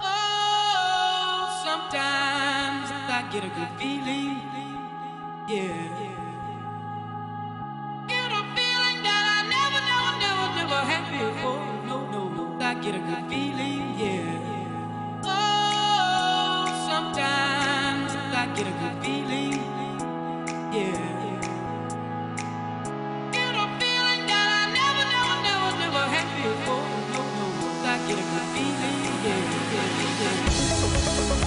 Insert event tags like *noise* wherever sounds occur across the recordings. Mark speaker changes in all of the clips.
Speaker 1: Oh, I get a good feeling, yeah. Get a feeling that I never, never, never, never had before. No, no, no. I get a good feeling, yeah. Oh, sometimes I get a good feeling, yeah. Get a feeling that I never, never, never, never had before. No, no, no. I get a good feeling, yeah, yeah, yeah.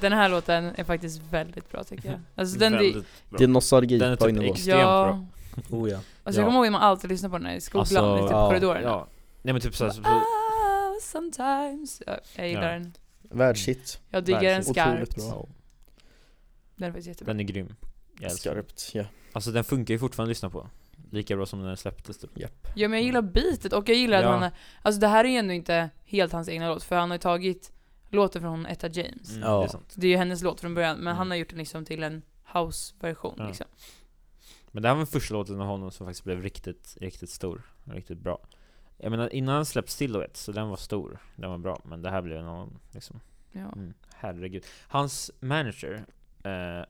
Speaker 2: Den här låten är faktiskt väldigt bra tycker
Speaker 3: *laughs*
Speaker 2: jag. Alltså den,
Speaker 3: Väldigt bra.
Speaker 4: Det är nostalgi
Speaker 3: Den är
Speaker 4: på
Speaker 3: typ
Speaker 4: hög nivå.
Speaker 3: ex- extremt
Speaker 2: ja,
Speaker 4: Oh, ja.
Speaker 2: alltså jag kommer ihåg hur man alltid lyssnar på den här i skolan,
Speaker 3: Alltså,
Speaker 2: i typ
Speaker 4: ja,
Speaker 2: korridoren.
Speaker 3: Ja. Nej men typ såhär, så,
Speaker 2: Ah, sometimes. Ja, jag gillar
Speaker 3: Ja.
Speaker 2: den.
Speaker 4: Världshit.
Speaker 2: Jag diggar den
Speaker 3: Verkligen.
Speaker 2: skarpt.
Speaker 4: Otroligt bra.
Speaker 2: Den är faktiskt jättebra.
Speaker 3: den är grym. Jag älskar den.
Speaker 4: Skarpt, ja.
Speaker 3: Alltså den funkar ju fortfarande att lyssna på. Lika bra som när den släpptes typ.
Speaker 2: Ja men jag gillar beatet och jag gillar
Speaker 3: Ja.
Speaker 2: att han, alltså det här är ju ändå inte helt hans egna låt för han har ju tagit låten från Etta James.
Speaker 3: Mm,
Speaker 4: Ja.
Speaker 3: Det är sant.
Speaker 2: Så det är ju hennes låt från början men han
Speaker 3: Mm.
Speaker 2: har gjort den liksom till en house-version
Speaker 3: Ja.
Speaker 2: liksom.
Speaker 3: Men det här var den första låten av honom som faktiskt blev riktigt, riktigt stor. och Riktigt bra. Jag menar innan han släppte Still och ett, så den var stor. Den var bra. Men det här blev en annan liksom.
Speaker 2: Ja.
Speaker 3: Mm. Herregud. Hans manager, eh,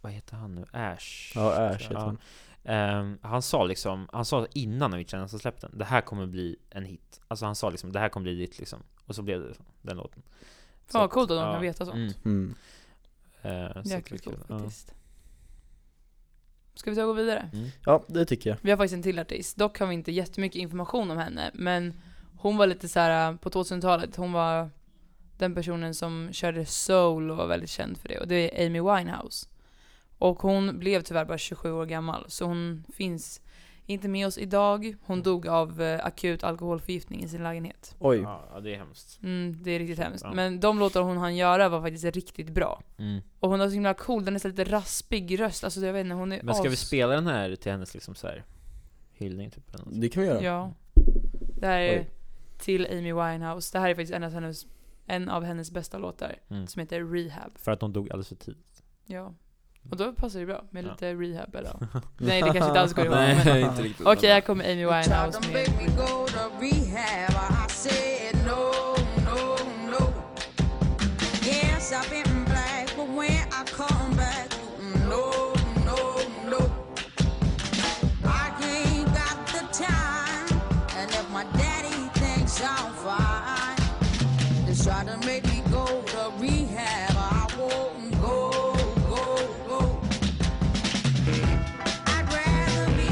Speaker 3: vad heter han nu? Ash?
Speaker 4: Ja, äh, Ash
Speaker 3: tror
Speaker 4: heter
Speaker 3: jag.
Speaker 4: han.
Speaker 3: Ehm, han sa liksom, han sa innan Avicii så släppte den, det här kommer bli en hit. Alltså han sa liksom, det här kommer bli ditt liksom. Och så blev det så, den låten. Så
Speaker 2: Fan vad
Speaker 3: att,
Speaker 2: coolt att de
Speaker 3: ja,
Speaker 2: kan veta sånt.
Speaker 3: Mm.
Speaker 4: Mm.
Speaker 3: Eh, så att
Speaker 2: Jäkligt
Speaker 3: det är
Speaker 2: coolt
Speaker 3: kul.
Speaker 2: faktiskt. Ska vi ta och gå vidare?
Speaker 3: Ja. Mm.
Speaker 4: Ja, det tycker jag.
Speaker 2: Vi har faktiskt en till artist, dock har vi inte jättemycket information om henne men hon var lite så här äh, på 2000-talet, hon var den personen som körde soul och var väldigt känd för det och det är Amy Winehouse. Och hon blev tyvärr bara 27 år gammal så hon finns inte med oss idag. Hon dog av eh, akut alkoholförgiftning i sin lägenhet.
Speaker 4: Oj.
Speaker 3: Ja, ja, det är hemskt.
Speaker 2: Mm, det är riktigt hemskt.
Speaker 3: Ja.
Speaker 2: Men de låtar hon hann göra var faktiskt riktigt bra.
Speaker 3: Mm.
Speaker 2: Och hon har så himla cool, den är så lite raspig röst, alltså jag vet inte, hon är
Speaker 3: Men ska vi
Speaker 2: as-
Speaker 3: spela den här till hennes liksom så här hyllning typ? eller något?
Speaker 4: Det kan vi göra.
Speaker 2: Ja. Det här är
Speaker 4: Oj.
Speaker 2: till Amy Winehouse. Det här är faktiskt en av hennes, en av hennes bästa låtar
Speaker 3: Mm.
Speaker 2: som heter Rehab.
Speaker 3: För att hon dog alldeles för tidigt.
Speaker 2: Ja. Och då passar det bra med
Speaker 3: Ja.
Speaker 2: lite rehab eller
Speaker 3: *laughs*
Speaker 2: ja. Nej det kanske inte alls går ihop. men-
Speaker 3: inte riktigt.
Speaker 2: Okej, här kommer Amy
Speaker 1: You tried
Speaker 2: Winehouse
Speaker 1: to
Speaker 2: med
Speaker 1: make me go to rehab. I said no, no, no. Yes, I've been black, but when I come back, no, no, no. I ain't got the time, and if my daddy thinks I'm fine, they try to make me go to rehab. I won't go, go, go. I'd rather be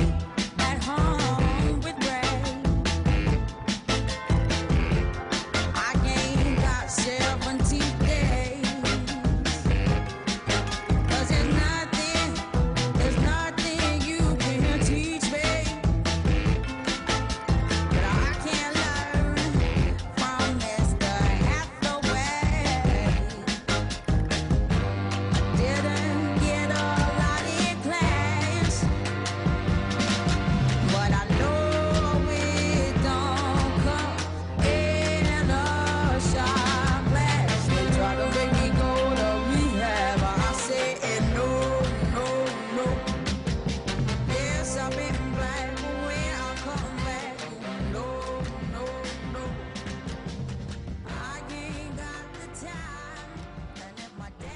Speaker 1: at home with Ray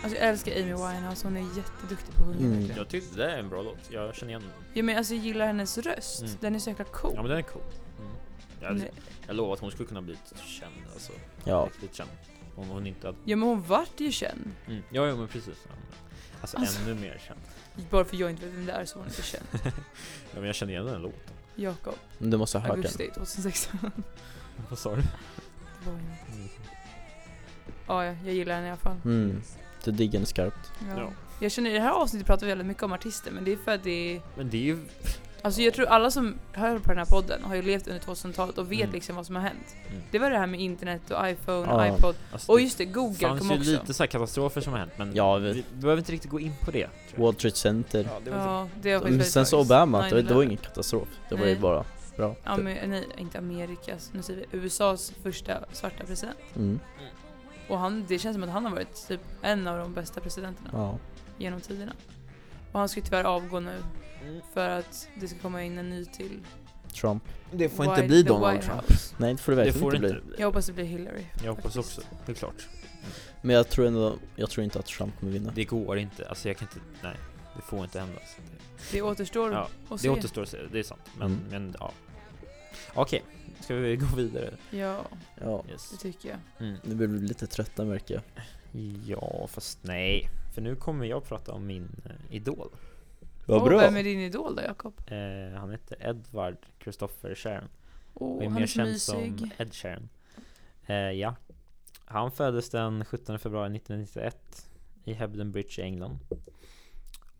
Speaker 2: Alltså jag älskar Amy Winehouse, hon är jätteduktig på att sjunga
Speaker 4: Mm.
Speaker 2: verkligen.
Speaker 3: Jag tyckte det är en bra låt, jag känner igen den.
Speaker 2: Ja men alltså jag gillar hennes röst,
Speaker 3: Mm.
Speaker 2: den är så jäkla cool.
Speaker 3: Ja men den är cool. Mm. Jag,
Speaker 2: Nej.
Speaker 3: jag lovar att hon skulle kunna bli känd alltså.
Speaker 4: Ja.
Speaker 3: Riktigt känd. Om hon inte hade...
Speaker 2: Ja men hon vart ju känd.
Speaker 3: Mm. Ja, ja men precis. Ja, men- Alltså,
Speaker 2: Alltså.
Speaker 3: ännu mer känd.
Speaker 2: Bara för jag inte vet vem det är så var hon inte
Speaker 3: *laughs*
Speaker 2: känd.
Speaker 3: Ja, men jag känner igen den här låten.
Speaker 2: Jakob,
Speaker 4: Men Du måste ha hört den.
Speaker 2: augusti *laughs* 2016.
Speaker 3: *laughs* Vad sa du?
Speaker 2: Det var inget.
Speaker 3: Mm.
Speaker 2: Ja, ja, jag gillar henne i alla fall.
Speaker 4: Mm. Du diggar den skarpt.
Speaker 2: Ja.
Speaker 3: Ja.
Speaker 2: Jag känner i det här avsnittet pratar vi väldigt mycket om artister men det är för att det är
Speaker 3: Men det är ju...
Speaker 2: Alltså jag tror alla som hör på den här podden har ju levt under 2000-talet och vet
Speaker 3: Mm.
Speaker 2: liksom vad som har hänt.
Speaker 3: Mm.
Speaker 2: Det var det här med internet och iPhone och
Speaker 4: Ja.
Speaker 2: iPod.
Speaker 3: Alltså,
Speaker 2: Och
Speaker 3: det-
Speaker 2: just det, Google kom
Speaker 3: fanns
Speaker 2: också.
Speaker 3: ju lite så här katastrofer som har hänt men
Speaker 4: Ja,
Speaker 3: vi,
Speaker 4: vi-
Speaker 3: behöver inte riktigt gå in på det. tror jag.
Speaker 4: World Trade Center.
Speaker 3: Ja, det var
Speaker 2: Ja, det var faktiskt
Speaker 4: Men
Speaker 2: väldigt
Speaker 4: sen så
Speaker 2: tragiskt.
Speaker 4: Obama, det var, det var
Speaker 2: 9-11.
Speaker 4: ingen katastrof. Det var
Speaker 2: Nej.
Speaker 4: ju bara bra.
Speaker 2: Ja men nej, inte Amerikas, nu säger vi USAs första svarta president.
Speaker 4: Mm.
Speaker 2: Och han, det känns som att han har varit typ en av de bästa presidenterna
Speaker 4: Ja.
Speaker 2: genom tiderna. Och han ska ju tyvärr avgå nu
Speaker 3: inte- Mm.
Speaker 2: för att det ska komma in en ny till.
Speaker 4: Trump.
Speaker 3: Det får
Speaker 2: White-
Speaker 3: inte bli
Speaker 2: the
Speaker 3: Donald
Speaker 2: White
Speaker 3: Trump.
Speaker 2: House.
Speaker 4: Nej, det får det
Speaker 3: Det
Speaker 4: verkligen
Speaker 3: får
Speaker 4: inte
Speaker 3: inte
Speaker 4: bli.
Speaker 3: bli.
Speaker 2: Jag hoppas det blir Hillary.
Speaker 3: Jag hoppas
Speaker 2: faktiskt.
Speaker 3: också, det är klart.
Speaker 4: Men jag tror ändå, jag tror inte att Trump kommer vinna.
Speaker 3: Det går inte, alltså jag kan inte, nej. Det får inte hända. Så det-
Speaker 2: Det återstår
Speaker 3: Ja,
Speaker 2: att se.
Speaker 3: Det återstår att se, det är sant. Men,
Speaker 4: Mm.
Speaker 3: men ja. Okej, ska vi gå vidare?
Speaker 2: Ja,
Speaker 4: Ja.
Speaker 2: det
Speaker 3: Yes.
Speaker 2: tycker jag.
Speaker 3: Mm.
Speaker 4: Nu blir vi lite trötta märker jag.
Speaker 3: Ja, fast nej. För nu kommer jag prata om min eh, idol.
Speaker 4: Vad
Speaker 2: Åh,
Speaker 4: bra!
Speaker 2: Vem är din idol då Jakob?
Speaker 3: Eh, han heter Edward Christopher Sharon.
Speaker 2: Åh,
Speaker 3: Och är
Speaker 2: han är
Speaker 3: mer
Speaker 2: så
Speaker 3: känd
Speaker 2: mysig.
Speaker 3: som Ed Sheeran. Eh, ja. Han föddes den 17 februari 1991 i Hebden Bridge i England.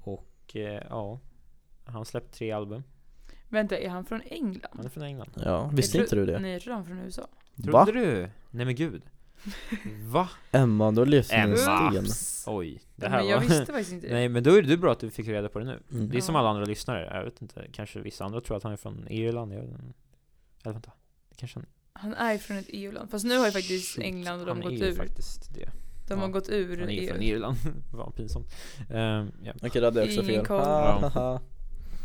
Speaker 3: Och eh, ja, han har släppt tre album.
Speaker 2: Vänta, är han från
Speaker 3: Han
Speaker 2: England?
Speaker 3: är från England.
Speaker 4: Ja, visste
Speaker 2: Jag
Speaker 4: inte
Speaker 2: tror-
Speaker 4: du det?
Speaker 2: Nej, jag trodde han var från USA.
Speaker 4: Va?
Speaker 3: Trodde du? Nej men gud. Va?
Speaker 4: Emma, du har levt som en
Speaker 3: Emma.
Speaker 4: sten.
Speaker 3: Oj. *laughs* Det
Speaker 2: Ja,
Speaker 3: här
Speaker 2: men jag
Speaker 3: var... *laughs*
Speaker 2: visste faktiskt inte det.
Speaker 3: Nej men då är det bra att du fick reda på det nu.
Speaker 4: Mm.
Speaker 3: Det är som
Speaker 2: Ja.
Speaker 3: alla andra lyssnare, jag vet inte, kanske vissa andra tror att han är från Irland, jag vet inte. Eller vänta, det kanske han...
Speaker 2: Han är från ett EU-land. Fast nu har ju faktiskt
Speaker 3: Shit,
Speaker 2: England och de
Speaker 3: han
Speaker 2: gått
Speaker 3: är ju
Speaker 2: ur.
Speaker 3: faktiskt det.
Speaker 2: de har
Speaker 3: ja,
Speaker 2: gått ur
Speaker 3: Han är ju
Speaker 2: EU.
Speaker 3: från E- Irland, *laughs* vad pinsamt. Ehm, ja.
Speaker 4: Okej, det hade jag också
Speaker 2: Ingen
Speaker 4: fel.
Speaker 2: koll.
Speaker 4: Ha, ha, ha.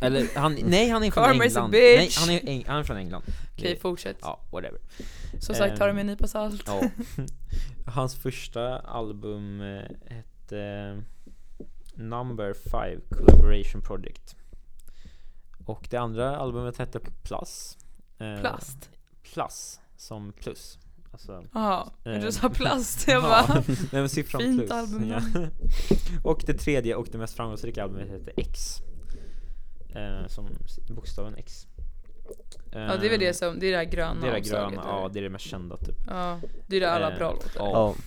Speaker 3: Eller han, *laughs* nej han är från
Speaker 2: Karma is a
Speaker 3: England.
Speaker 2: bitch.
Speaker 3: Nej, han är, eng- han är från England.
Speaker 2: Okej,
Speaker 3: Det-
Speaker 2: fortsätt.
Speaker 3: E- Ja, whatever. *laughs*
Speaker 2: Som sagt, ta det med en
Speaker 3: ehm,
Speaker 2: nypa salt.
Speaker 3: Ja. Hans första album eh, hette eh, Number Five Collaboration Project. Och det andra albumet hette Plus. Eh,
Speaker 2: Plast.
Speaker 3: Plus, som plus. Alltså,
Speaker 2: Jaha, men
Speaker 3: ehm,
Speaker 2: du sa plast. Jag bara... *laughs*
Speaker 3: ja, nej, men siffran
Speaker 2: Fint
Speaker 3: plus.
Speaker 2: album,
Speaker 3: ja. *laughs* Och det tredje och det mest framgångsrika albumet hette X. Eh, som s- bokstaven X. Eh,
Speaker 2: Ja, det är väl det som... Det är det här gröna
Speaker 3: Det är det
Speaker 2: omslaget,
Speaker 3: gröna,
Speaker 2: eller?
Speaker 3: ja det är det mest kända typ.
Speaker 2: Ja, det är det alla
Speaker 3: Eh,
Speaker 2: bra låtar.
Speaker 3: ja.
Speaker 4: Ja.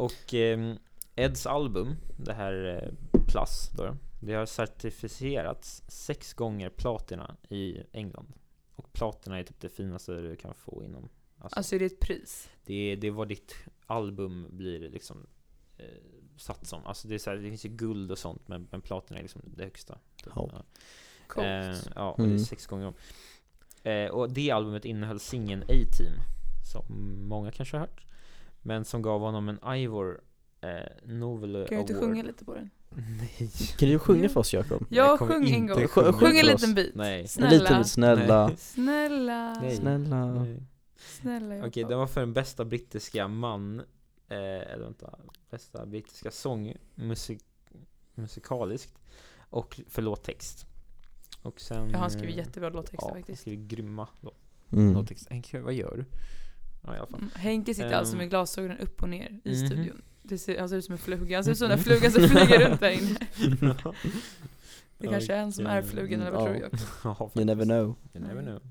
Speaker 3: Och ehm, Eds album, det här eh, Plus då, det har certifierats sex gånger platina i England. Och platina är typ det finaste du kan få inom... Alltså,
Speaker 2: Alltså, är det ett pris?
Speaker 3: det, är- det är vad ditt album blir liksom eh, satt som. Alltså det, är så här, det finns ju guld och sånt men, men platina är liksom det högsta. typ.
Speaker 4: Ja.
Speaker 3: Ja.
Speaker 2: Coolt.
Speaker 3: Eh, ja, och det är
Speaker 4: Mm.
Speaker 3: sex gånger om. Eh, och det albumet innehöll singeln A-Team, som många kanske har hört. Men som gav honom en Ivor eh, Novel Award.
Speaker 2: kan du inte sjunga lite på den?
Speaker 3: *laughs* Nej.
Speaker 4: Kan du
Speaker 2: Mm.
Speaker 4: sjunga för oss Jakob?
Speaker 2: Ja,
Speaker 3: kommer
Speaker 2: sjung en
Speaker 3: inte
Speaker 2: gång.
Speaker 4: sjunga
Speaker 2: Sjung en
Speaker 4: för oss.
Speaker 2: liten bit.
Speaker 3: Nej.
Speaker 4: En
Speaker 2: Snälla.
Speaker 4: liten bit, snälla.
Speaker 3: Nej.
Speaker 2: Snälla.
Speaker 3: Nej.
Speaker 4: Snälla.
Speaker 3: Nej.
Speaker 2: Snälla
Speaker 3: Okej,
Speaker 2: Jakob.
Speaker 3: den var för den bästa brittiska man, eh, eller vänta, bästa brittiska sång, musik, musikaliskt och för låttext. Och sen...
Speaker 2: Ja, han skriver
Speaker 3: eh,
Speaker 2: jättebra låttexter
Speaker 3: ja, han
Speaker 2: faktiskt.
Speaker 3: skriver grymma lå-
Speaker 4: Mm.
Speaker 3: låttexter. Henke, vad gör du? Ja, i alla fall.
Speaker 2: Mm, Henke sitter alltså med glasögonen upp och ner i
Speaker 3: Ehm. Mhm.
Speaker 2: studion. Det ser, han ser ut som en fluga. Han ser ut som
Speaker 3: *laughs*
Speaker 2: den där flugan som flyger runt där inne. *laughs* Det
Speaker 3: *laughs*
Speaker 2: kanske är han som är flugan eller vad tror
Speaker 4: Ja.
Speaker 2: jag?
Speaker 3: Ja,
Speaker 4: You never know.
Speaker 3: You never know.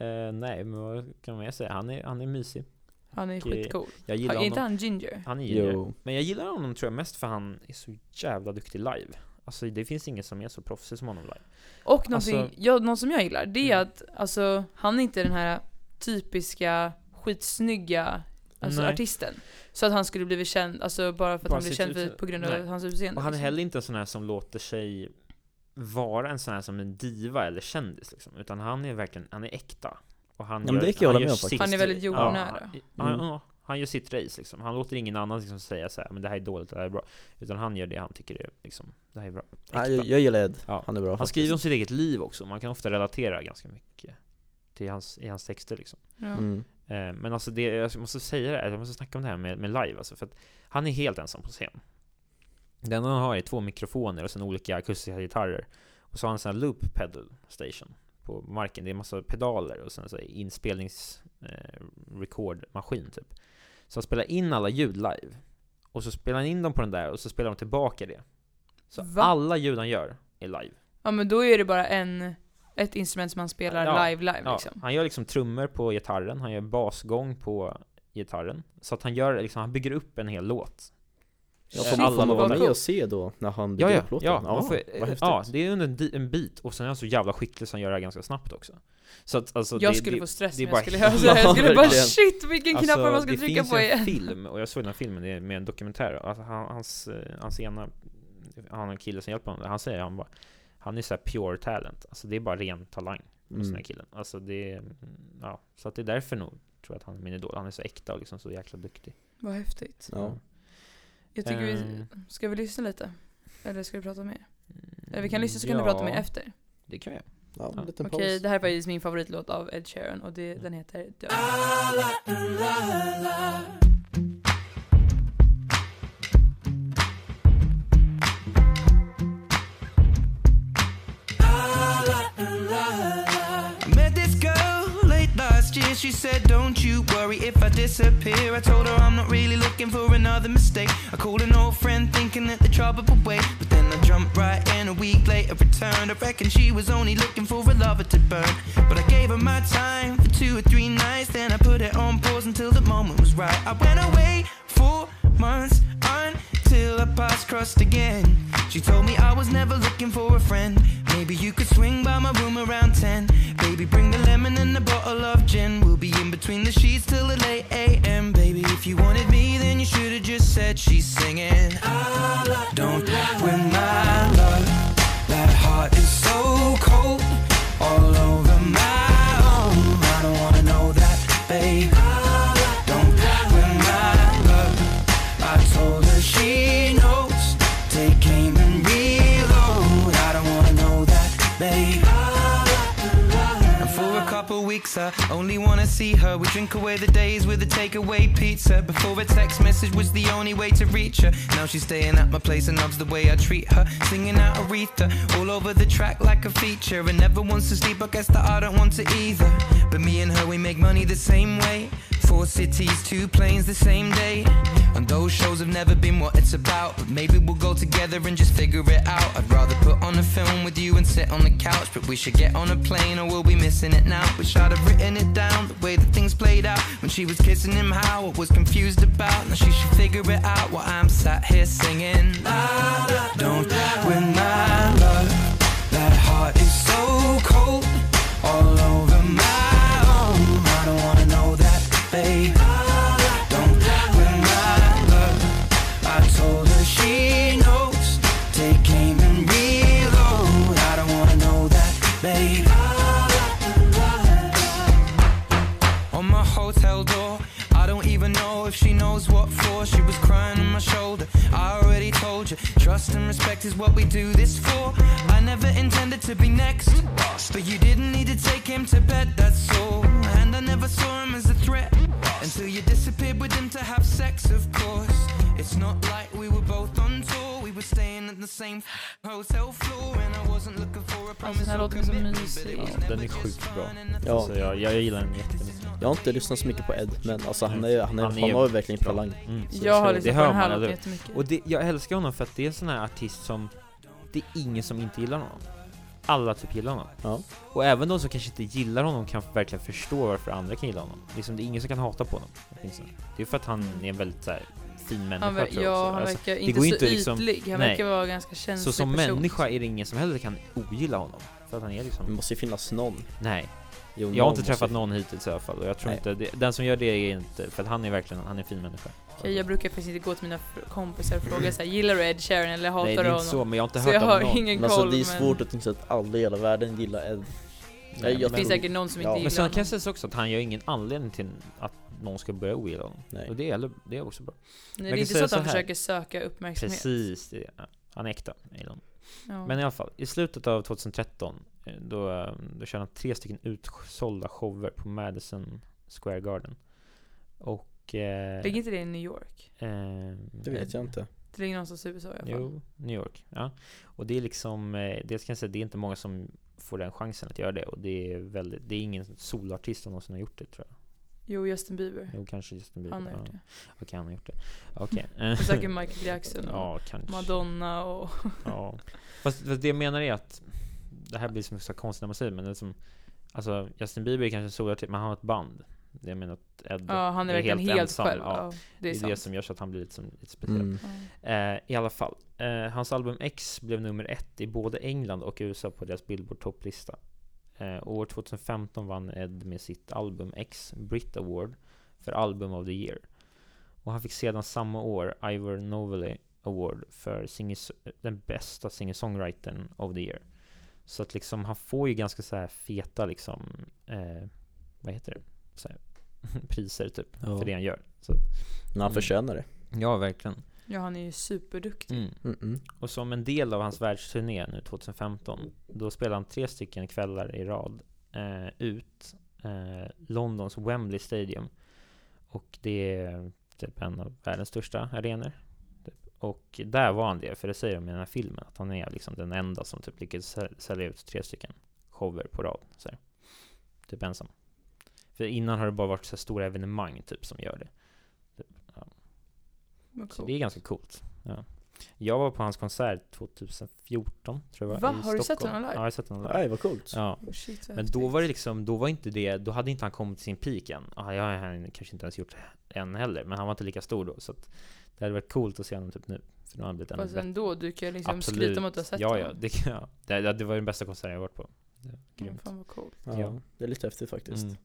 Speaker 3: Eh, nej, men vad kan man säga? Han är, han är mysig.
Speaker 2: Han är
Speaker 3: Okej.
Speaker 2: skitcool.
Speaker 3: Jag
Speaker 2: Har,
Speaker 3: gillar
Speaker 2: är inte
Speaker 3: honom.
Speaker 2: han ginger?
Speaker 3: Han är ginger.
Speaker 4: Jo.
Speaker 3: Men jag gillar honom tror jag mest för han är så jävla duktig live. Alltså det finns ingen som är så proffsig som honom live.
Speaker 2: Och någonting,
Speaker 3: Alltså-
Speaker 2: ja, någon som jag gillar, det är
Speaker 3: Mm.
Speaker 2: att alltså, han är inte den här typiska skitsnygga alltså,
Speaker 3: Nej.
Speaker 2: artisten. Så att han skulle bli känd, alltså bara för att
Speaker 3: Bara
Speaker 2: han blev
Speaker 3: sitt
Speaker 2: känd för,
Speaker 3: utseende.
Speaker 2: på grund av
Speaker 3: Nej.
Speaker 2: hans utseende.
Speaker 3: Och han är
Speaker 2: liksom.
Speaker 3: heller inte en sån här som låter sig vara en sån här som en diva eller kändis liksom. Utan han är verkligen, han är äkta. Och han
Speaker 4: Ja, men det kan jag hålla med om faktiskt.
Speaker 2: Han är väldigt
Speaker 3: ja,
Speaker 2: jordnära.
Speaker 3: han,
Speaker 4: Mm.
Speaker 3: ja, han gör sitt race liksom. Han låter ingen annan liksom säga så här, men det här är dåligt, det här är bra. Utan han gör det han tycker är liksom, det här är bra.
Speaker 4: Ja,
Speaker 3: Äkta.
Speaker 4: jag, jag gillar Ed.
Speaker 3: Ja.
Speaker 4: Han är bra
Speaker 3: Han
Speaker 4: faktiskt.
Speaker 3: skriver om sitt eget liv också, man kan ofta relatera ganska mycket till hans, i hans texter liksom.
Speaker 2: Ja.
Speaker 4: Mm.
Speaker 3: Eh, Men alltså det, jag måste säga det, här, jag måste snacka om det här med, med live alltså, för att han är helt ensam på scen. Det enda han har är två mikrofoner och sen olika akustiska gitarrer. Och så har han en sån här loop pedal station på marken. Det är en massa pedaler och sen så här inspelnings eh, recordmaskin typ. Så han spelar in alla ljud live. Och så spelar han in dem på den där och så spelar de tillbaka det. Så
Speaker 2: Va?
Speaker 3: alla ljud han gör är live.
Speaker 2: Ja men då är det bara en, ett instrument som man spelar
Speaker 3: Ja,
Speaker 2: live live
Speaker 3: Ja,
Speaker 2: liksom.
Speaker 3: Han gör liksom trummor på gitarren, han gör basgång på gitarren. Så att han gör liksom, han bygger upp en hel låt.
Speaker 4: Ja,
Speaker 2: Shit,
Speaker 4: får man, får man vara
Speaker 2: vad
Speaker 4: med
Speaker 2: coolt.
Speaker 4: och se då när han
Speaker 3: Ja,
Speaker 4: bygger
Speaker 3: ja,
Speaker 4: upp
Speaker 3: ja,
Speaker 4: låten?
Speaker 3: man får,
Speaker 4: vad häftigt.
Speaker 3: ja, det är under en, di- en bit och sen är han så jävla skicklig så han gör det här ganska snabbt också. Så att alltså,
Speaker 2: jag
Speaker 3: det,
Speaker 2: skulle
Speaker 3: det,
Speaker 2: få stress
Speaker 3: det
Speaker 2: om jag
Speaker 3: är bara-
Speaker 2: skulle
Speaker 3: *laughs*
Speaker 2: höra såhär, jag
Speaker 4: Ja,
Speaker 2: skulle bara
Speaker 4: verkligen.
Speaker 2: shit vilken
Speaker 3: alltså,
Speaker 2: knapp man ska
Speaker 3: det
Speaker 2: trycka
Speaker 3: finns
Speaker 2: på
Speaker 3: ju
Speaker 2: igen.
Speaker 3: en film, och jag såg den här filmen, det är med en dokumentär, alltså, han, hans, eh, hans ena, han har en kille som hjälper honom, han säger han bara han är såhär pure talent, alltså det är bara ren talang hos den här
Speaker 4: Mm.
Speaker 3: killen. Alltså det, är- ja, så att det är därför nog tror jag att han är min idol, han är så äkta och liksom så jäkla duktig.
Speaker 2: Vad häftigt.
Speaker 4: Ja.
Speaker 2: Jag tycker vi,
Speaker 3: Ehm.
Speaker 2: ska vi lyssna lite? Eller ska vi prata mer? Eller vi kan lyssna så kan du prata mer efter.
Speaker 3: Det kan jag.
Speaker 4: Ja, en liten
Speaker 2: Okej,
Speaker 4: paus.
Speaker 2: det här är faktiskt min favoritlåt av Ed Sheeran och det, den heter Död.
Speaker 5: Met this girl late last year. She said, Don't you worry if I disappear. I told her I'm not really looking for another mistake. I called an old friend thinking that the trouble would wait. But then I jumped right in a week later, returned. I reckon she was only looking for a lover to burn. But I gave her my time for two or three nights. Then I put it on pause until the moment was right. I went away for months until our paths crossed again. She told me I was never looking for a friend. Maybe you could swing by my room around 10. Baby, bring the lemon and a bottle of gin. We'll be in between the sheets till the late AM. Baby, if you wanted me, then you should have just said she's singing. Don't play with my love. That heart is so cold. All over my own. I don't wanna know that, babe. Don't play with my love. I told her she knows. Take aim and reload. I don't wanna know that, babe. And for a couple weeks, I only wanna see her. We drink away the days with a takeaway pizza. Before a text message was the only way to reach her. Now she's staying at my place and loves the way I treat her. Singing out Aretha all over the track like a feature. And never wants to sleep, I guess that I don't want to either. But me and her, we make money the same way. Four cities, two planes the same day. And those shows have never been what it's about. But maybe we'll go together and just figure it out. I'd rather put on a film with you and sit on the couch. But we should get on a plane or we'll be missing it now. Wish I'd have written it down the way that things played out. When she was kissing him, how I was confused about. Now she should figure it out while I'm sat here singing. La, la, don't play with my love. That heart is so cold. All over my own. I don't wanna know that, babe. Don't play with my love. I told her she knows. Take aim and reload. I don't wanna know that, babe. On my hotel door, I don't even know if she knows what for. She was crying on my shoulder. I already told you, trust and respect is what we do this for. I never intended to be next, but you didn't need to take him to bed, that's all. And I never saw him as a threat until you disappeared with him to have sex, of course. It's not like we were both on tour. We were staying at the same hotel floor, and I wasn't looking for a
Speaker 2: Alltså den
Speaker 5: promise
Speaker 2: här
Speaker 5: or
Speaker 2: låten är så
Speaker 5: commitment.
Speaker 2: mysig.
Speaker 3: Ja, den är sjukt bra.
Speaker 4: Ja.
Speaker 3: Så jag, jag gillar den jättemycket.
Speaker 4: Jag har inte lyssnat så mycket på Ed, men alltså han, är, han, är,
Speaker 3: Han
Speaker 4: han,
Speaker 3: är
Speaker 4: har ju verkligen
Speaker 3: bra.
Speaker 4: talang.
Speaker 3: Mm.
Speaker 2: Jag har
Speaker 3: det
Speaker 2: lyssnat på
Speaker 3: hör
Speaker 2: den här
Speaker 3: man,
Speaker 2: låten
Speaker 3: eller
Speaker 2: jättemycket.
Speaker 3: Och det, jag älskar honom för att det är en sån här artist som Det är ingen som inte gillar honom Alla typ gillar honom
Speaker 4: Ja.
Speaker 3: Och även de som kanske inte gillar honom kan verkligen förstå varför andra kan gilla honom liksom, Det är ingen som kan hata på honom åtminstone. Det är för att han är en väldigt så här, fin människa
Speaker 2: Han, ver-
Speaker 3: tror jag också.
Speaker 2: ja, han
Speaker 3: Alltså,
Speaker 2: verkar inte
Speaker 3: går
Speaker 2: så
Speaker 3: inte liksom-
Speaker 2: ytlig, han
Speaker 3: nej.
Speaker 2: verkar vara ganska känslig
Speaker 3: Så som
Speaker 2: person.
Speaker 3: människa är det ingen som heller kan ogilla honom För att han är
Speaker 4: Det
Speaker 3: liksom
Speaker 4: måste ju finnas någon.
Speaker 3: Nej
Speaker 4: Jo,
Speaker 3: Jag har
Speaker 4: någon
Speaker 3: inte träffat
Speaker 4: måste-
Speaker 3: någon hittills i alla fall och jag tror
Speaker 4: Nej.
Speaker 3: inte det, Den som gör det är inte För att han är verkligen, han är en fin människa
Speaker 2: Okej, jag brukar faktiskt inte gå till mina fr- kompisar och fråga såhär, gillar du Ed Sheeran eller hatar
Speaker 3: Nej det
Speaker 2: du
Speaker 3: är
Speaker 2: honom?
Speaker 3: inte så, men jag har inte
Speaker 2: Så
Speaker 3: hört
Speaker 2: jag
Speaker 3: om
Speaker 2: har
Speaker 3: någon
Speaker 2: ingen
Speaker 4: Men alltså
Speaker 2: koll
Speaker 4: det är svårt att tänka att alla i hela världen gillar Ed.
Speaker 3: Nej,
Speaker 4: jag
Speaker 2: Det finns
Speaker 4: tror-
Speaker 2: säkert någon som
Speaker 4: Ja.
Speaker 2: inte
Speaker 3: Men
Speaker 2: gillar
Speaker 3: sen kan
Speaker 2: honom.
Speaker 3: jag säga också att han gör ingen anledning till att någon ska börja ogilla honom.
Speaker 4: Nej.
Speaker 3: Och det är, det är också bra.
Speaker 2: Nej,
Speaker 3: jag
Speaker 2: det är
Speaker 3: kan
Speaker 2: inte så
Speaker 3: säga
Speaker 2: att han
Speaker 3: så här.
Speaker 2: försöker söka uppmärksamhet.
Speaker 3: Precis, det är, ja. han är äkta. Elon.
Speaker 2: Liksom Ja.
Speaker 3: Men i alla fall, i slutet av 2013 eh, då, eh, då körde han tre stycken utsålda shower på Madison Square Garden. Och... Eh,
Speaker 2: Ligger inte det i New York?
Speaker 3: eh,
Speaker 4: Det vet jag inte.
Speaker 2: Det ligger någonstans i USA i alla fall.
Speaker 3: Jo, New York. Ja. Och det är liksom, eh, dels kan jag säga, det är inte många som får den chansen att göra det. Och det är väldigt, det är ingen solartist som någonsin har gjort det tror jag.
Speaker 2: Jo, Justin Bieber.
Speaker 3: Jo, kanske Justin Bieber.
Speaker 2: Han har gjort
Speaker 3: ja.
Speaker 2: det.
Speaker 3: Okej, han har gjort det. Okej. eh,
Speaker 2: *laughs* Och säkert Michael Jackson och
Speaker 3: ja, kanske.
Speaker 2: Madonna och...
Speaker 3: Ja. Fast, fast det jag menar är att, det här blir som så här konstigt när man säger det, men det är som, alltså Justin Bieber är kanske en solartist, men han har ett band. Det jag menar att Ed
Speaker 2: Ja, han är
Speaker 3: är
Speaker 2: verkligen
Speaker 3: helt
Speaker 2: helt,
Speaker 3: ensam.
Speaker 2: själv.
Speaker 3: Ja.
Speaker 2: Ja, det
Speaker 3: det
Speaker 2: är
Speaker 3: är det
Speaker 2: sant.
Speaker 3: som gör så att han blir lite, som, lite speciell.
Speaker 4: Mm.
Speaker 2: Ja.
Speaker 3: Eh, I alla fall, eh, hans album X blev nummer ett i både England och USA på deras Billboard topplista. Eh, år 2015 vann Ed med sitt album X Brit Award för Album of the Year. Och han fick sedan samma år Ivor Novelly Award för singers- den bästa singer-songwritern of the year. Så att liksom han får ju ganska så här feta liksom, eh, vad heter det, så här, *laughs* priser typ
Speaker 4: Ja.
Speaker 3: för det han gör. Så, att-
Speaker 4: Men han förtjänar det.
Speaker 3: ja, verkligen.
Speaker 2: ja, han är ju superduktig.
Speaker 3: Mm.
Speaker 4: Mm-mm.
Speaker 3: Och som en del av hans världsturné nu 2015, då spelade han tre stycken kvällar i rad eh, ut eh, Londons Wembley Stadium. Och det är typ en av världens största arenor. Typ. Och där var han det, för det säger de i den här filmen, att han är liksom den enda som typ lyckades säl- sälja ut tre stycken shower på rad. Så här. Typ ensam. För innan har det bara varit så här stora evenemang typ som gör det.
Speaker 2: Vad
Speaker 3: Så
Speaker 2: cool.
Speaker 3: det är ganska coolt. Ja. Jag var på hans konsert 2014, tror jag det var,
Speaker 2: Va?
Speaker 3: i
Speaker 2: Har du sett
Speaker 3: Stockholm.
Speaker 2: honom live?
Speaker 3: Ja, jag har sett honom live.
Speaker 4: Aj, vad coolt.
Speaker 3: Ja.
Speaker 2: Oh, Shit, vad
Speaker 3: Men då var det
Speaker 2: häftigt.
Speaker 3: liksom, då var inte det, då hade inte han kommit till sin peak än. Ah, jag har kanske inte ens gjort det än heller, men han var inte lika stor då. Så att det hade varit coolt att se honom typ nu. För nu har han blivit ännu
Speaker 2: Fast
Speaker 3: bättre.
Speaker 2: ändå, du kan ju liksom skryta om att du har sett
Speaker 3: ja, ja,
Speaker 2: honom.
Speaker 3: det, kan jag. det, det, det var den bästa konserten jag varit på. Det, var
Speaker 2: Ja,
Speaker 3: grymt.
Speaker 2: Fan vad coolt.
Speaker 3: Ja.
Speaker 4: Ja. Det är lite häftigt faktiskt.
Speaker 3: Mm.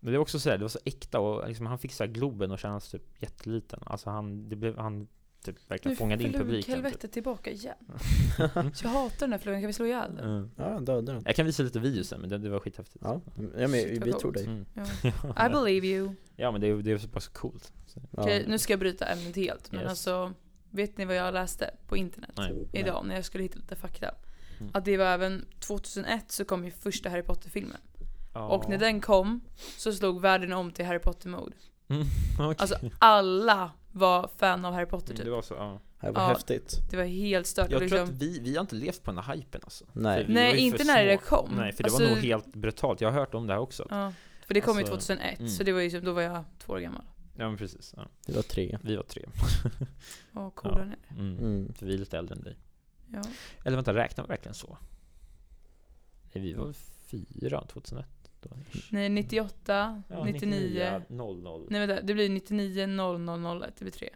Speaker 3: Men det var också sådär, det var så äkta och liksom, han fick så här Globen och kändes typ jätteliten. Alltså han, det blev, han typ verkligen fångade in publiken. Typ.
Speaker 2: helvete tillbaka igen. jag hatar den här flugan, kan vi slå ihjäl den?
Speaker 3: Mm.
Speaker 4: Ja, han dödade den.
Speaker 3: Jag kan visa lite videos sen, men det, det var skithäftigt.
Speaker 4: Ja, ja men
Speaker 2: Shit, vad
Speaker 4: vi tror
Speaker 2: coolt.
Speaker 4: dig.
Speaker 3: Mm. *laughs*
Speaker 2: I believe you.
Speaker 3: Ja men det, är- det är så pass coolt. Så,
Speaker 4: Ja.
Speaker 2: Okej, nu ska jag bryta ämnet helt. Men
Speaker 3: Yes.
Speaker 2: alltså, vet ni vad jag läste på internet
Speaker 3: nej.
Speaker 2: idag när jag skulle hitta lite fakta?
Speaker 3: Mm.
Speaker 2: Att det var även 2001 så kom ju första Harry Potter-filmen.
Speaker 3: Ja.
Speaker 2: Och när den kom så slog världen om till Harry Potter-mode.
Speaker 3: Mm, *laughs* okej.
Speaker 2: Alltså alla var fan av Harry Potter
Speaker 3: Mm,
Speaker 2: typ.
Speaker 3: Det var så, ja.
Speaker 4: Här var
Speaker 2: Ja.
Speaker 4: häftigt.
Speaker 2: Det var helt stört.
Speaker 3: Jag
Speaker 2: och
Speaker 3: tror
Speaker 2: liksom,
Speaker 3: att vi, vi har inte levt på den här hypen alltså.
Speaker 4: Nej.
Speaker 3: För vi var
Speaker 2: Nej,
Speaker 3: ju
Speaker 2: inte
Speaker 3: för
Speaker 2: när det
Speaker 3: små.
Speaker 2: kom.
Speaker 3: Nej, för det
Speaker 2: Alltså,
Speaker 3: var nog helt brutalt. Jag har hört om det här också.
Speaker 2: Ja, för det kom ju
Speaker 3: Alltså,
Speaker 2: 2001,
Speaker 3: mm.
Speaker 2: så det var ju, som- då var jag två år gammal.
Speaker 3: Ja men precis. Ja.
Speaker 4: Det var tre.
Speaker 3: Vi var tre.
Speaker 2: Ja, cool han är.
Speaker 3: Mm.
Speaker 4: Mm.
Speaker 3: För vi är lite äldre än dig.
Speaker 2: Ja.
Speaker 3: Eller vänta, räknar vi verkligen så? Nej, vi var fyra 2001. Då.
Speaker 2: Mm. Nej, 98,
Speaker 3: Ja,
Speaker 2: 99.
Speaker 3: 00.
Speaker 2: Nej vänta, det blir 99 00 01, det blir 3.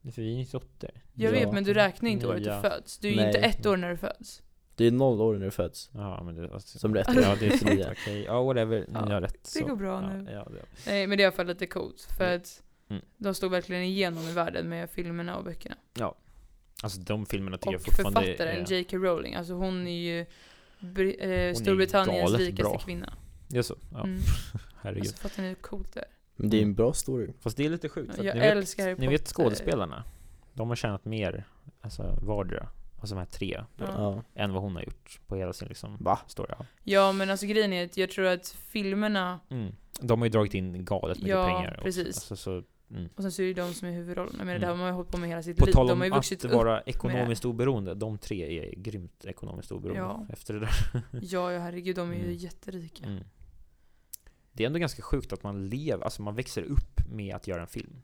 Speaker 3: Nej. För vi är 98
Speaker 2: Jag
Speaker 4: Ja.
Speaker 2: vet men du räknar ju inte året du
Speaker 3: Nya.
Speaker 2: föds. Du är ju
Speaker 4: Nej.
Speaker 2: inte ett år när du föds.
Speaker 4: Det är noll år när du föds.
Speaker 3: Ja men det alltså,
Speaker 4: Som rätt.
Speaker 3: Ja
Speaker 4: *laughs*
Speaker 3: det är sant,
Speaker 4: Nio.
Speaker 3: okej. Ja whatever, ni
Speaker 2: Ja,
Speaker 3: har rätt.
Speaker 2: Det går bra nu.
Speaker 3: Ja, det,
Speaker 2: Nej men det är i alla fall lite coolt för
Speaker 3: Mm.
Speaker 2: att
Speaker 3: Mm.
Speaker 2: de slog verkligen igenom i världen med filmerna och böckerna.
Speaker 3: alltså de filmerna tycker
Speaker 2: Och
Speaker 3: jag fortfarande
Speaker 2: författaren
Speaker 3: är...
Speaker 2: J.K. Rowling, alltså hon är ju Bri- eh,
Speaker 3: är
Speaker 2: Storbritanniens
Speaker 3: galet
Speaker 2: rikaste
Speaker 3: bra.
Speaker 2: kvinna.
Speaker 3: Det är så? Ja,
Speaker 2: Mm.
Speaker 3: herregud.
Speaker 2: Alltså fattar ni hur coolt det är?
Speaker 4: Men det är en bra story.
Speaker 3: Fast det är lite sjukt. för att
Speaker 2: Jag
Speaker 3: ni vet-
Speaker 2: älskar Harry
Speaker 3: Ni vet
Speaker 2: Potter.
Speaker 3: skådespelarna? De har tjänat mer, alltså vardera, alltså de här tre, då,
Speaker 2: Ja.
Speaker 4: Ja.
Speaker 3: än vad hon har gjort på hela sin liksom
Speaker 4: Va?
Speaker 3: story. Ja.
Speaker 2: Ja men alltså grejen är att jag tror att filmerna,
Speaker 3: Mm. De har ju dragit in galet mycket
Speaker 2: Ja,
Speaker 3: pengar. också.
Speaker 2: precis.
Speaker 3: Alltså, så, mm.
Speaker 2: och sen så är det de som är huvudrollen. Jag menar det här
Speaker 3: Mm.
Speaker 2: har man ju hållit på med hela sitt
Speaker 3: På
Speaker 2: liv.
Speaker 3: tal
Speaker 2: De
Speaker 3: om
Speaker 2: har ju vuxit
Speaker 3: att
Speaker 2: upp.
Speaker 3: vara ekonomiskt oberoende, de tre är grymt ekonomiskt oberoende efter det där.
Speaker 2: Ja, ja herregud, de är ju
Speaker 3: Mm.
Speaker 2: jätterika.
Speaker 3: Mm. Det är ändå ganska sjukt att man lever, alltså man växer upp med att göra en film.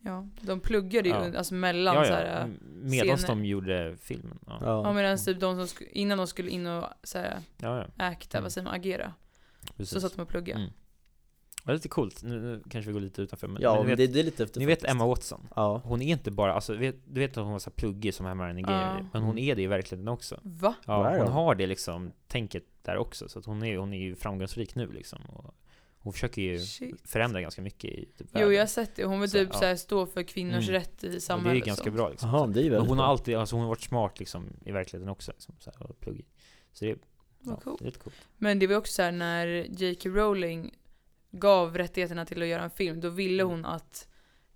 Speaker 2: Ja, de pluggade ju
Speaker 3: Ja.
Speaker 2: un- alltså mellan så här,
Speaker 3: m- Medans
Speaker 2: scener.
Speaker 3: de gjorde filmen. Ja, ja. Mm.
Speaker 2: Ja
Speaker 4: Ja.
Speaker 2: medan typ de som sku- innan de skulle in och så här,
Speaker 3: ja,
Speaker 2: acta,
Speaker 3: Mm.
Speaker 2: vad säger man, agera.
Speaker 3: precis.
Speaker 2: Så satt de och pluggade.
Speaker 3: Mm. Det är lite coolt, nu, nu kanske vi går lite utanför men,
Speaker 4: Ja,
Speaker 3: men ni
Speaker 4: men
Speaker 3: vet,
Speaker 4: det, det är lite häftigt
Speaker 3: ni vet
Speaker 4: faktiskt.
Speaker 3: Emma Watson?
Speaker 4: Ja.
Speaker 3: Hon är inte bara, alltså, vet, du vet att hon var så här pluggig som Hammer and
Speaker 2: Ja.
Speaker 3: Gay, men hon är det i verkligheten också.
Speaker 2: Va?
Speaker 3: Ja,
Speaker 4: Wow.
Speaker 3: hon har det liksom tänket där också, så att hon, är, hon är ju framgångsrik nu liksom. Och hon försöker ju
Speaker 2: Shit.
Speaker 3: förändra ganska mycket i typ,
Speaker 2: Jo,
Speaker 3: världen.
Speaker 2: jag har sett det. Hon vill
Speaker 3: Så,
Speaker 2: typ
Speaker 3: ja.
Speaker 2: så här, stå för kvinnors
Speaker 3: Mm.
Speaker 2: rätt i
Speaker 3: Och det är
Speaker 2: samhället.
Speaker 3: ju ganska bra liksom.
Speaker 4: Jaha, det är
Speaker 3: Men hon
Speaker 4: väldigt
Speaker 3: har
Speaker 4: bra.
Speaker 3: alltid, alltså hon har varit smart liksom i verkligheten också, liksom, så här, och pluggig. Så det är, ja,
Speaker 2: Vad coolt.
Speaker 3: det är lite coolt.
Speaker 2: Men det var ju också så här när J.K. Rowling gav rättigheterna till att göra en film, då ville
Speaker 3: Mm.
Speaker 2: hon att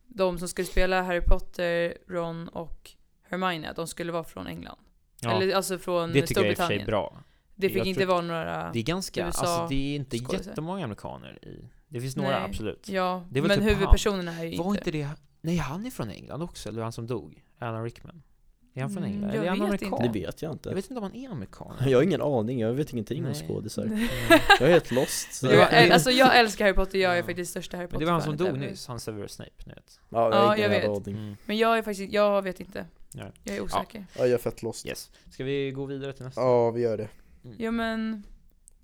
Speaker 2: de som skulle spela Harry Potter, Ron och Hermione, att de skulle vara från England.
Speaker 3: Ja,
Speaker 2: Eller alltså från
Speaker 3: det tycker jag i och för sig är
Speaker 2: Storbritannien.
Speaker 3: bra.
Speaker 2: Det fick
Speaker 3: Jag
Speaker 2: inte
Speaker 3: tror-
Speaker 2: vara några...
Speaker 3: Det är ganska,
Speaker 2: USA
Speaker 3: alltså det är inte
Speaker 2: skådisar.
Speaker 3: jättemånga amerikaner i, Det finns några,
Speaker 2: Nej.
Speaker 3: absolut.
Speaker 2: Ja,
Speaker 3: Det är väl
Speaker 2: men
Speaker 3: typ han.
Speaker 2: huvudpersonerna är ju
Speaker 3: Var
Speaker 2: inte...
Speaker 3: inte det... Nej, han är från England också, eller han som dog? Alan Rickman. Är han från
Speaker 2: Mm,
Speaker 3: England?
Speaker 2: jag
Speaker 3: Eller är han
Speaker 2: vet
Speaker 3: amerikan?
Speaker 2: inte.
Speaker 4: Det vet jag
Speaker 3: Jag
Speaker 4: inte.
Speaker 3: vet inte om han är *laughs* amerikan.
Speaker 4: Jag har ingen aning, jag vet ingenting om
Speaker 3: Nej.
Speaker 2: *laughs*
Speaker 4: skådisar. Jag är helt lost. Så
Speaker 2: Jag,
Speaker 3: Det var-
Speaker 4: jag,
Speaker 2: äl- alltså jag älskar Harry Potter, jag är
Speaker 3: Ja.
Speaker 2: faktiskt största Harry
Speaker 3: Men
Speaker 2: Potter
Speaker 3: det var han som dog nyss, han Severus Snape, ni vet.
Speaker 4: ja, jag
Speaker 2: Ja,
Speaker 4: har ingen
Speaker 2: jag
Speaker 4: jävla
Speaker 2: vet.
Speaker 3: Mm.
Speaker 4: aning.
Speaker 2: Men jag är faktiskt, jag vet inte.
Speaker 3: Nej.
Speaker 2: Jag är osäker.
Speaker 4: Ja, jag är fett lost.
Speaker 3: Yes. Ska vi gå vidare till nästa?
Speaker 4: Ja, vi gör det.
Speaker 2: Ja. men,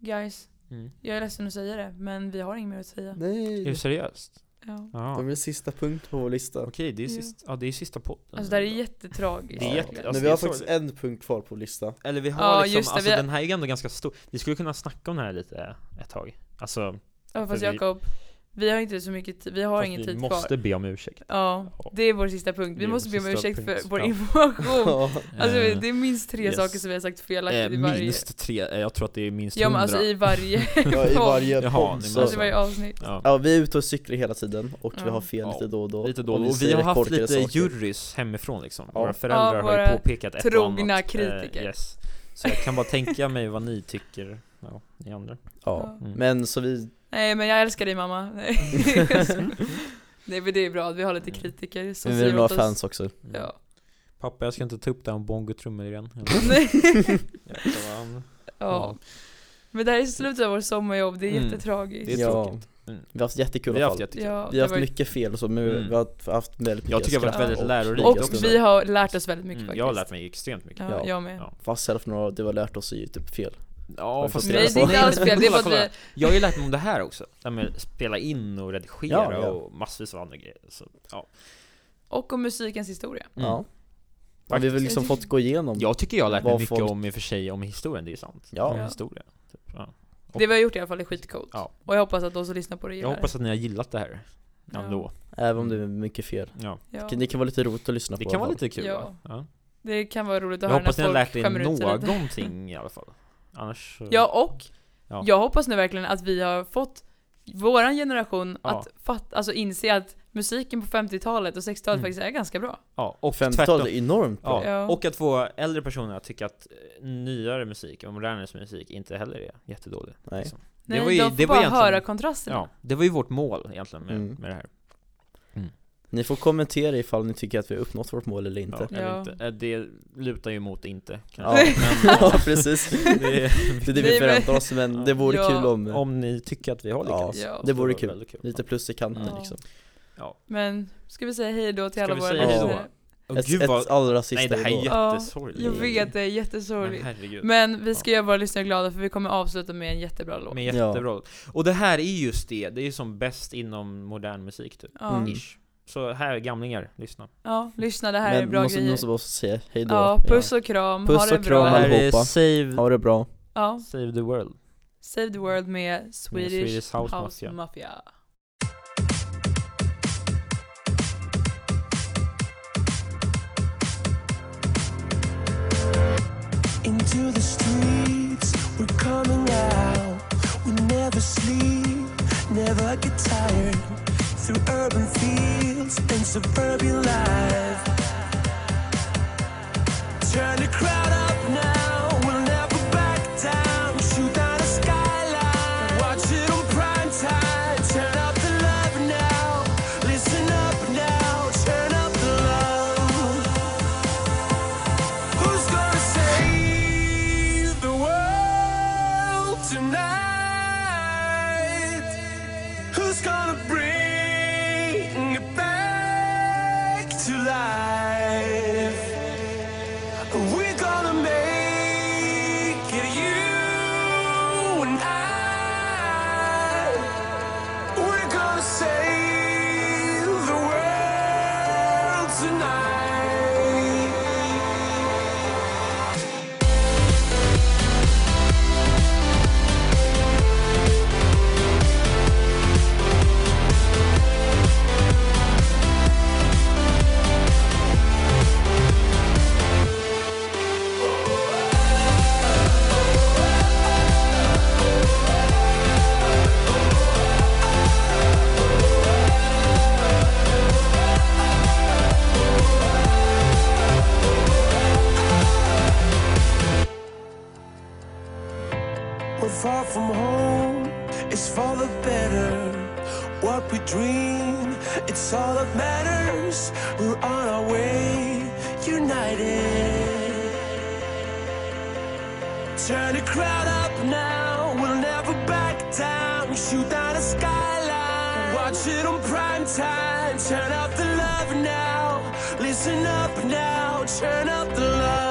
Speaker 2: guys.
Speaker 3: Mm.
Speaker 2: Jag är ledsen att säga det, men vi har inget mer att säga.
Speaker 3: Är det
Speaker 4: Nej!
Speaker 3: seriöst?
Speaker 2: Ja.
Speaker 3: Ja.
Speaker 4: Det var den sista punkt på vår lista.
Speaker 3: Okej, det
Speaker 2: Ja.
Speaker 3: är sist, ja. det är sista podden.
Speaker 2: Alltså det här är jättetragiskt.
Speaker 3: Det är
Speaker 4: Ja.
Speaker 3: jätte- alltså,
Speaker 4: Men
Speaker 3: det
Speaker 4: vi
Speaker 3: är
Speaker 4: har faktiskt
Speaker 3: sorgligt.
Speaker 4: en punkt kvar på listan.
Speaker 2: Mm.
Speaker 4: *laughs*
Speaker 3: Eller vi har
Speaker 2: Ja,
Speaker 3: liksom,
Speaker 2: just det,
Speaker 3: alltså
Speaker 2: vi har-
Speaker 3: den här är ändå ganska stor. Vi skulle kunna snacka om den här lite ett tag. Alltså,
Speaker 2: Ja fast
Speaker 3: vi-
Speaker 2: Jakob, vi har inte så mycket tid, vi har
Speaker 3: fast
Speaker 2: ingen
Speaker 3: vi
Speaker 2: tid
Speaker 3: måste
Speaker 2: kvar.
Speaker 3: be om ursäkt.
Speaker 2: Ja,
Speaker 3: Ja.
Speaker 2: det är vår sista punkt.
Speaker 3: Det
Speaker 2: Vi
Speaker 3: är
Speaker 2: måste
Speaker 3: vår
Speaker 2: be om
Speaker 3: sista
Speaker 2: ursäkt
Speaker 3: punkt,
Speaker 2: för vår
Speaker 3: ja. *laughs*
Speaker 2: information. *laughs* Alltså
Speaker 3: Eh,
Speaker 2: det är minst tre
Speaker 3: yes.
Speaker 2: saker som vi har sagt
Speaker 3: eh,
Speaker 2: felaktigt i varje...
Speaker 3: minst tre, eh, jag tror att det är minst
Speaker 2: Ja
Speaker 3: hundra.
Speaker 2: men alltså i varje
Speaker 3: *laughs*
Speaker 4: Ja, i
Speaker 2: podd.
Speaker 4: varje
Speaker 3: Jaha,
Speaker 4: podd
Speaker 3: ni
Speaker 4: så...
Speaker 2: Alltså i varje avsnitt.
Speaker 3: ja.
Speaker 4: Ja, vi är ute och cyklar hela tiden och vi
Speaker 2: Ja.
Speaker 4: har fel lite
Speaker 3: Ja,
Speaker 4: då och då.
Speaker 3: Lite då
Speaker 4: och
Speaker 3: och
Speaker 4: vi
Speaker 3: då. Vi
Speaker 4: säger
Speaker 3: har haft
Speaker 4: korkade
Speaker 3: lite
Speaker 4: saker.
Speaker 3: jurys hemifrån liksom.
Speaker 4: Ja.
Speaker 3: Våra föräldrar
Speaker 2: Ja,
Speaker 3: har
Speaker 2: våra
Speaker 3: ju påpekat ett och
Speaker 2: trogna
Speaker 3: annat. Eh,
Speaker 2: kritiker.
Speaker 3: yes. Så jag kan bara tänka mig vad ni tycker, ja, ni andra. Mm.
Speaker 4: Ja.
Speaker 2: Ja.
Speaker 4: Men så vi,
Speaker 2: Nej men jag älskar dig mamma. *laughs* Nej,
Speaker 3: *laughs*
Speaker 2: Nej men det är bra att vi har lite kritiker som
Speaker 4: vi är
Speaker 2: säger
Speaker 4: några
Speaker 2: åt oss.
Speaker 4: fans också.
Speaker 3: Mm.
Speaker 2: Ja. *laughs*
Speaker 3: Pappa, jag ska inte ta upp det här om bongotrummor igen.
Speaker 2: Nej.
Speaker 3: Jävlar, vad han-
Speaker 2: ja. Men det här är slutet av vårt sommarjobb, det är
Speaker 3: Mm.
Speaker 2: jättetragiskt.
Speaker 3: Det är
Speaker 4: ja.
Speaker 3: tråkigt. Mm.
Speaker 4: Vi har haft jättekul
Speaker 3: Vi
Speaker 4: i
Speaker 3: har
Speaker 4: alla
Speaker 3: haft
Speaker 4: fall.
Speaker 3: jättekul.
Speaker 2: Ja,
Speaker 4: Vi har
Speaker 2: det var-
Speaker 4: haft mycket fel och så, men vi
Speaker 3: Mm.
Speaker 4: har haft väldigt mycket
Speaker 3: Jag tycker det har varit
Speaker 4: skratt
Speaker 2: väldigt
Speaker 4: och
Speaker 3: lärorikt
Speaker 4: roliga
Speaker 2: Och
Speaker 4: stunder.
Speaker 2: vi har lärt oss väldigt mycket
Speaker 3: Mm,
Speaker 2: faktiskt.
Speaker 3: jag har lärt mig extremt mycket.
Speaker 2: Ja,
Speaker 4: Ja.
Speaker 2: jag med.
Speaker 3: Ja.
Speaker 4: Fast hälften av det vi har lärt oss är ju typ fel.
Speaker 3: Ja,
Speaker 4: Men
Speaker 3: fast
Speaker 4: det
Speaker 2: Nej
Speaker 4: är
Speaker 2: det är inte
Speaker 4: så-
Speaker 2: alls fel, det är
Speaker 3: Kolla,
Speaker 2: bara
Speaker 3: kolla.
Speaker 2: att
Speaker 3: Jag har ju lärt mig om det här också. Det här med att spela in och redigera
Speaker 4: Ja, ja.
Speaker 3: och massvis av andra grejer. Så, ja.
Speaker 2: vi... Och om musikens historia.
Speaker 3: Mm.
Speaker 4: Ja. Men vi har väl liksom fått gå igenom.
Speaker 3: Jag tycker jag har lärt mig
Speaker 4: Vad
Speaker 3: mycket
Speaker 4: folk-
Speaker 3: om i och för sig om historien, det är sant.
Speaker 4: Ja.
Speaker 3: Om
Speaker 2: Ja.
Speaker 3: historia. Typ. Ja. Och-
Speaker 2: Det vi har gjort i alla fall är skitcoolt.
Speaker 3: Ja.
Speaker 2: Och jag hoppas att de som lyssnar på det
Speaker 3: Jag
Speaker 2: gillar
Speaker 3: hoppas att ni har gillat det här.
Speaker 2: Ja.
Speaker 3: Ändå.
Speaker 4: Även om det är mycket fel.
Speaker 3: Ja.
Speaker 2: det. Ja.
Speaker 4: Det kan vara lite roligt att lyssna
Speaker 3: Det
Speaker 4: på.
Speaker 3: kan vara
Speaker 4: i alla
Speaker 3: lite kul
Speaker 2: Ja.
Speaker 3: va? Ja.
Speaker 2: Det kan vara roligt
Speaker 3: Jag
Speaker 2: att höra
Speaker 3: hoppas ni har
Speaker 2: när
Speaker 3: lärt
Speaker 2: folk
Speaker 3: er
Speaker 2: skämmer ut sig lite.
Speaker 3: någonting i alla fall. Annars... så-
Speaker 2: Ja, och
Speaker 3: Ja.
Speaker 2: jag hoppas nu verkligen att vi har fått våran generation
Speaker 3: Ja.
Speaker 2: att fatt, alltså inse att musiken på 50-talet och 60-talet
Speaker 3: Mm.
Speaker 2: faktiskt är ganska bra.
Speaker 3: Ja, och
Speaker 4: fall.
Speaker 3: tvärtom.
Speaker 4: 50-talet är enormt bra.
Speaker 3: Ja.
Speaker 2: Ja.
Speaker 3: och att få äldre personer att tycka att eh, nyare musik, och modernare musik, inte heller är jättedålig.
Speaker 4: Nej.
Speaker 3: Liksom.
Speaker 2: Nej,
Speaker 3: Det var ju-
Speaker 2: de får
Speaker 3: det var
Speaker 2: bara
Speaker 3: egentligen-
Speaker 2: höra kontrasterna.
Speaker 3: Ja, det var ju vårt mål egentligen med,
Speaker 4: Mm.
Speaker 3: med det här.
Speaker 4: Ni får kommentera ifall ni tycker att vi har uppnått vårt mål eller inte.
Speaker 3: Ja, eller
Speaker 2: Ja.
Speaker 3: Inte. Eh, Det lutar ju mot inte.
Speaker 4: Ja,
Speaker 3: kanske. Men,
Speaker 4: *laughs* ja.
Speaker 3: ja,
Speaker 4: precis.
Speaker 3: det
Speaker 4: Det är
Speaker 3: är,
Speaker 4: det
Speaker 2: Nej,
Speaker 4: vi
Speaker 2: men-
Speaker 4: förväntar oss, men det vore
Speaker 2: Ja.
Speaker 4: kul om,
Speaker 3: om ni tycker att vi har
Speaker 4: Ja,
Speaker 3: lyckats.
Speaker 2: Ja.
Speaker 4: det vore kul.
Speaker 3: väldigt kul.
Speaker 4: lite plus i kanten
Speaker 2: Ja.
Speaker 4: liksom.
Speaker 2: Men, ska vi säga hej då till
Speaker 3: Ska
Speaker 2: alla
Speaker 3: vi
Speaker 2: våra
Speaker 3: säga
Speaker 4: hej då?
Speaker 2: lyssnare?
Speaker 3: Åh,
Speaker 4: ett,
Speaker 3: gud
Speaker 4: ett
Speaker 3: vad...
Speaker 4: allra sista
Speaker 3: Nej det här är
Speaker 4: idag.
Speaker 2: Ja,
Speaker 3: jättesorgligt.
Speaker 2: Jag vet, det är
Speaker 3: Men
Speaker 2: jättesorgligt.
Speaker 3: herregud.
Speaker 2: Men vi ska göra våra lyssnare glada för vi kommer avsluta med en jättebra låt.
Speaker 3: Men
Speaker 4: Ja.
Speaker 3: jättebra. Och det här är just det, det är ju som bäst inom modern musik typ.
Speaker 2: Ja,
Speaker 4: Mm.
Speaker 3: Ish. Så här, gamlingar, lyssna.
Speaker 2: ja lyssna det här är
Speaker 4: Men
Speaker 2: bra
Speaker 4: måste,
Speaker 2: grejer.
Speaker 4: måste bara säga hejdå.
Speaker 2: ja, puss och kram,
Speaker 4: Puss
Speaker 2: ha det
Speaker 4: och
Speaker 2: bra.
Speaker 4: kram
Speaker 3: det här är
Speaker 4: allihopa.
Speaker 3: Save,
Speaker 4: Ha det bra.
Speaker 2: Ja,
Speaker 3: Save the World.
Speaker 2: Save the World med Swedish,
Speaker 3: Swedish House
Speaker 2: House,
Speaker 3: Mafia.
Speaker 2: Mafia.
Speaker 6: into the streets. We're coming out. We never sleep, never get tired. Through urban fields and suburban life. Turn the crowd up now. We'll never back down. Shoot down a skyline. Watch it on prime time. Turn up the love now. Listen up now. Turn up the love. Who's gonna save the world tonight? Who's gonna bring it back to life? We're gonna make it you and I. We're gonna save the world tonight. from home is for the better. What we dream, it's all that matters. We're on our way, united. Turn the crowd up now, we'll never back down. Shoot down the skyline, watch it on prime time. Turn up the love now, listen up now, turn up the love.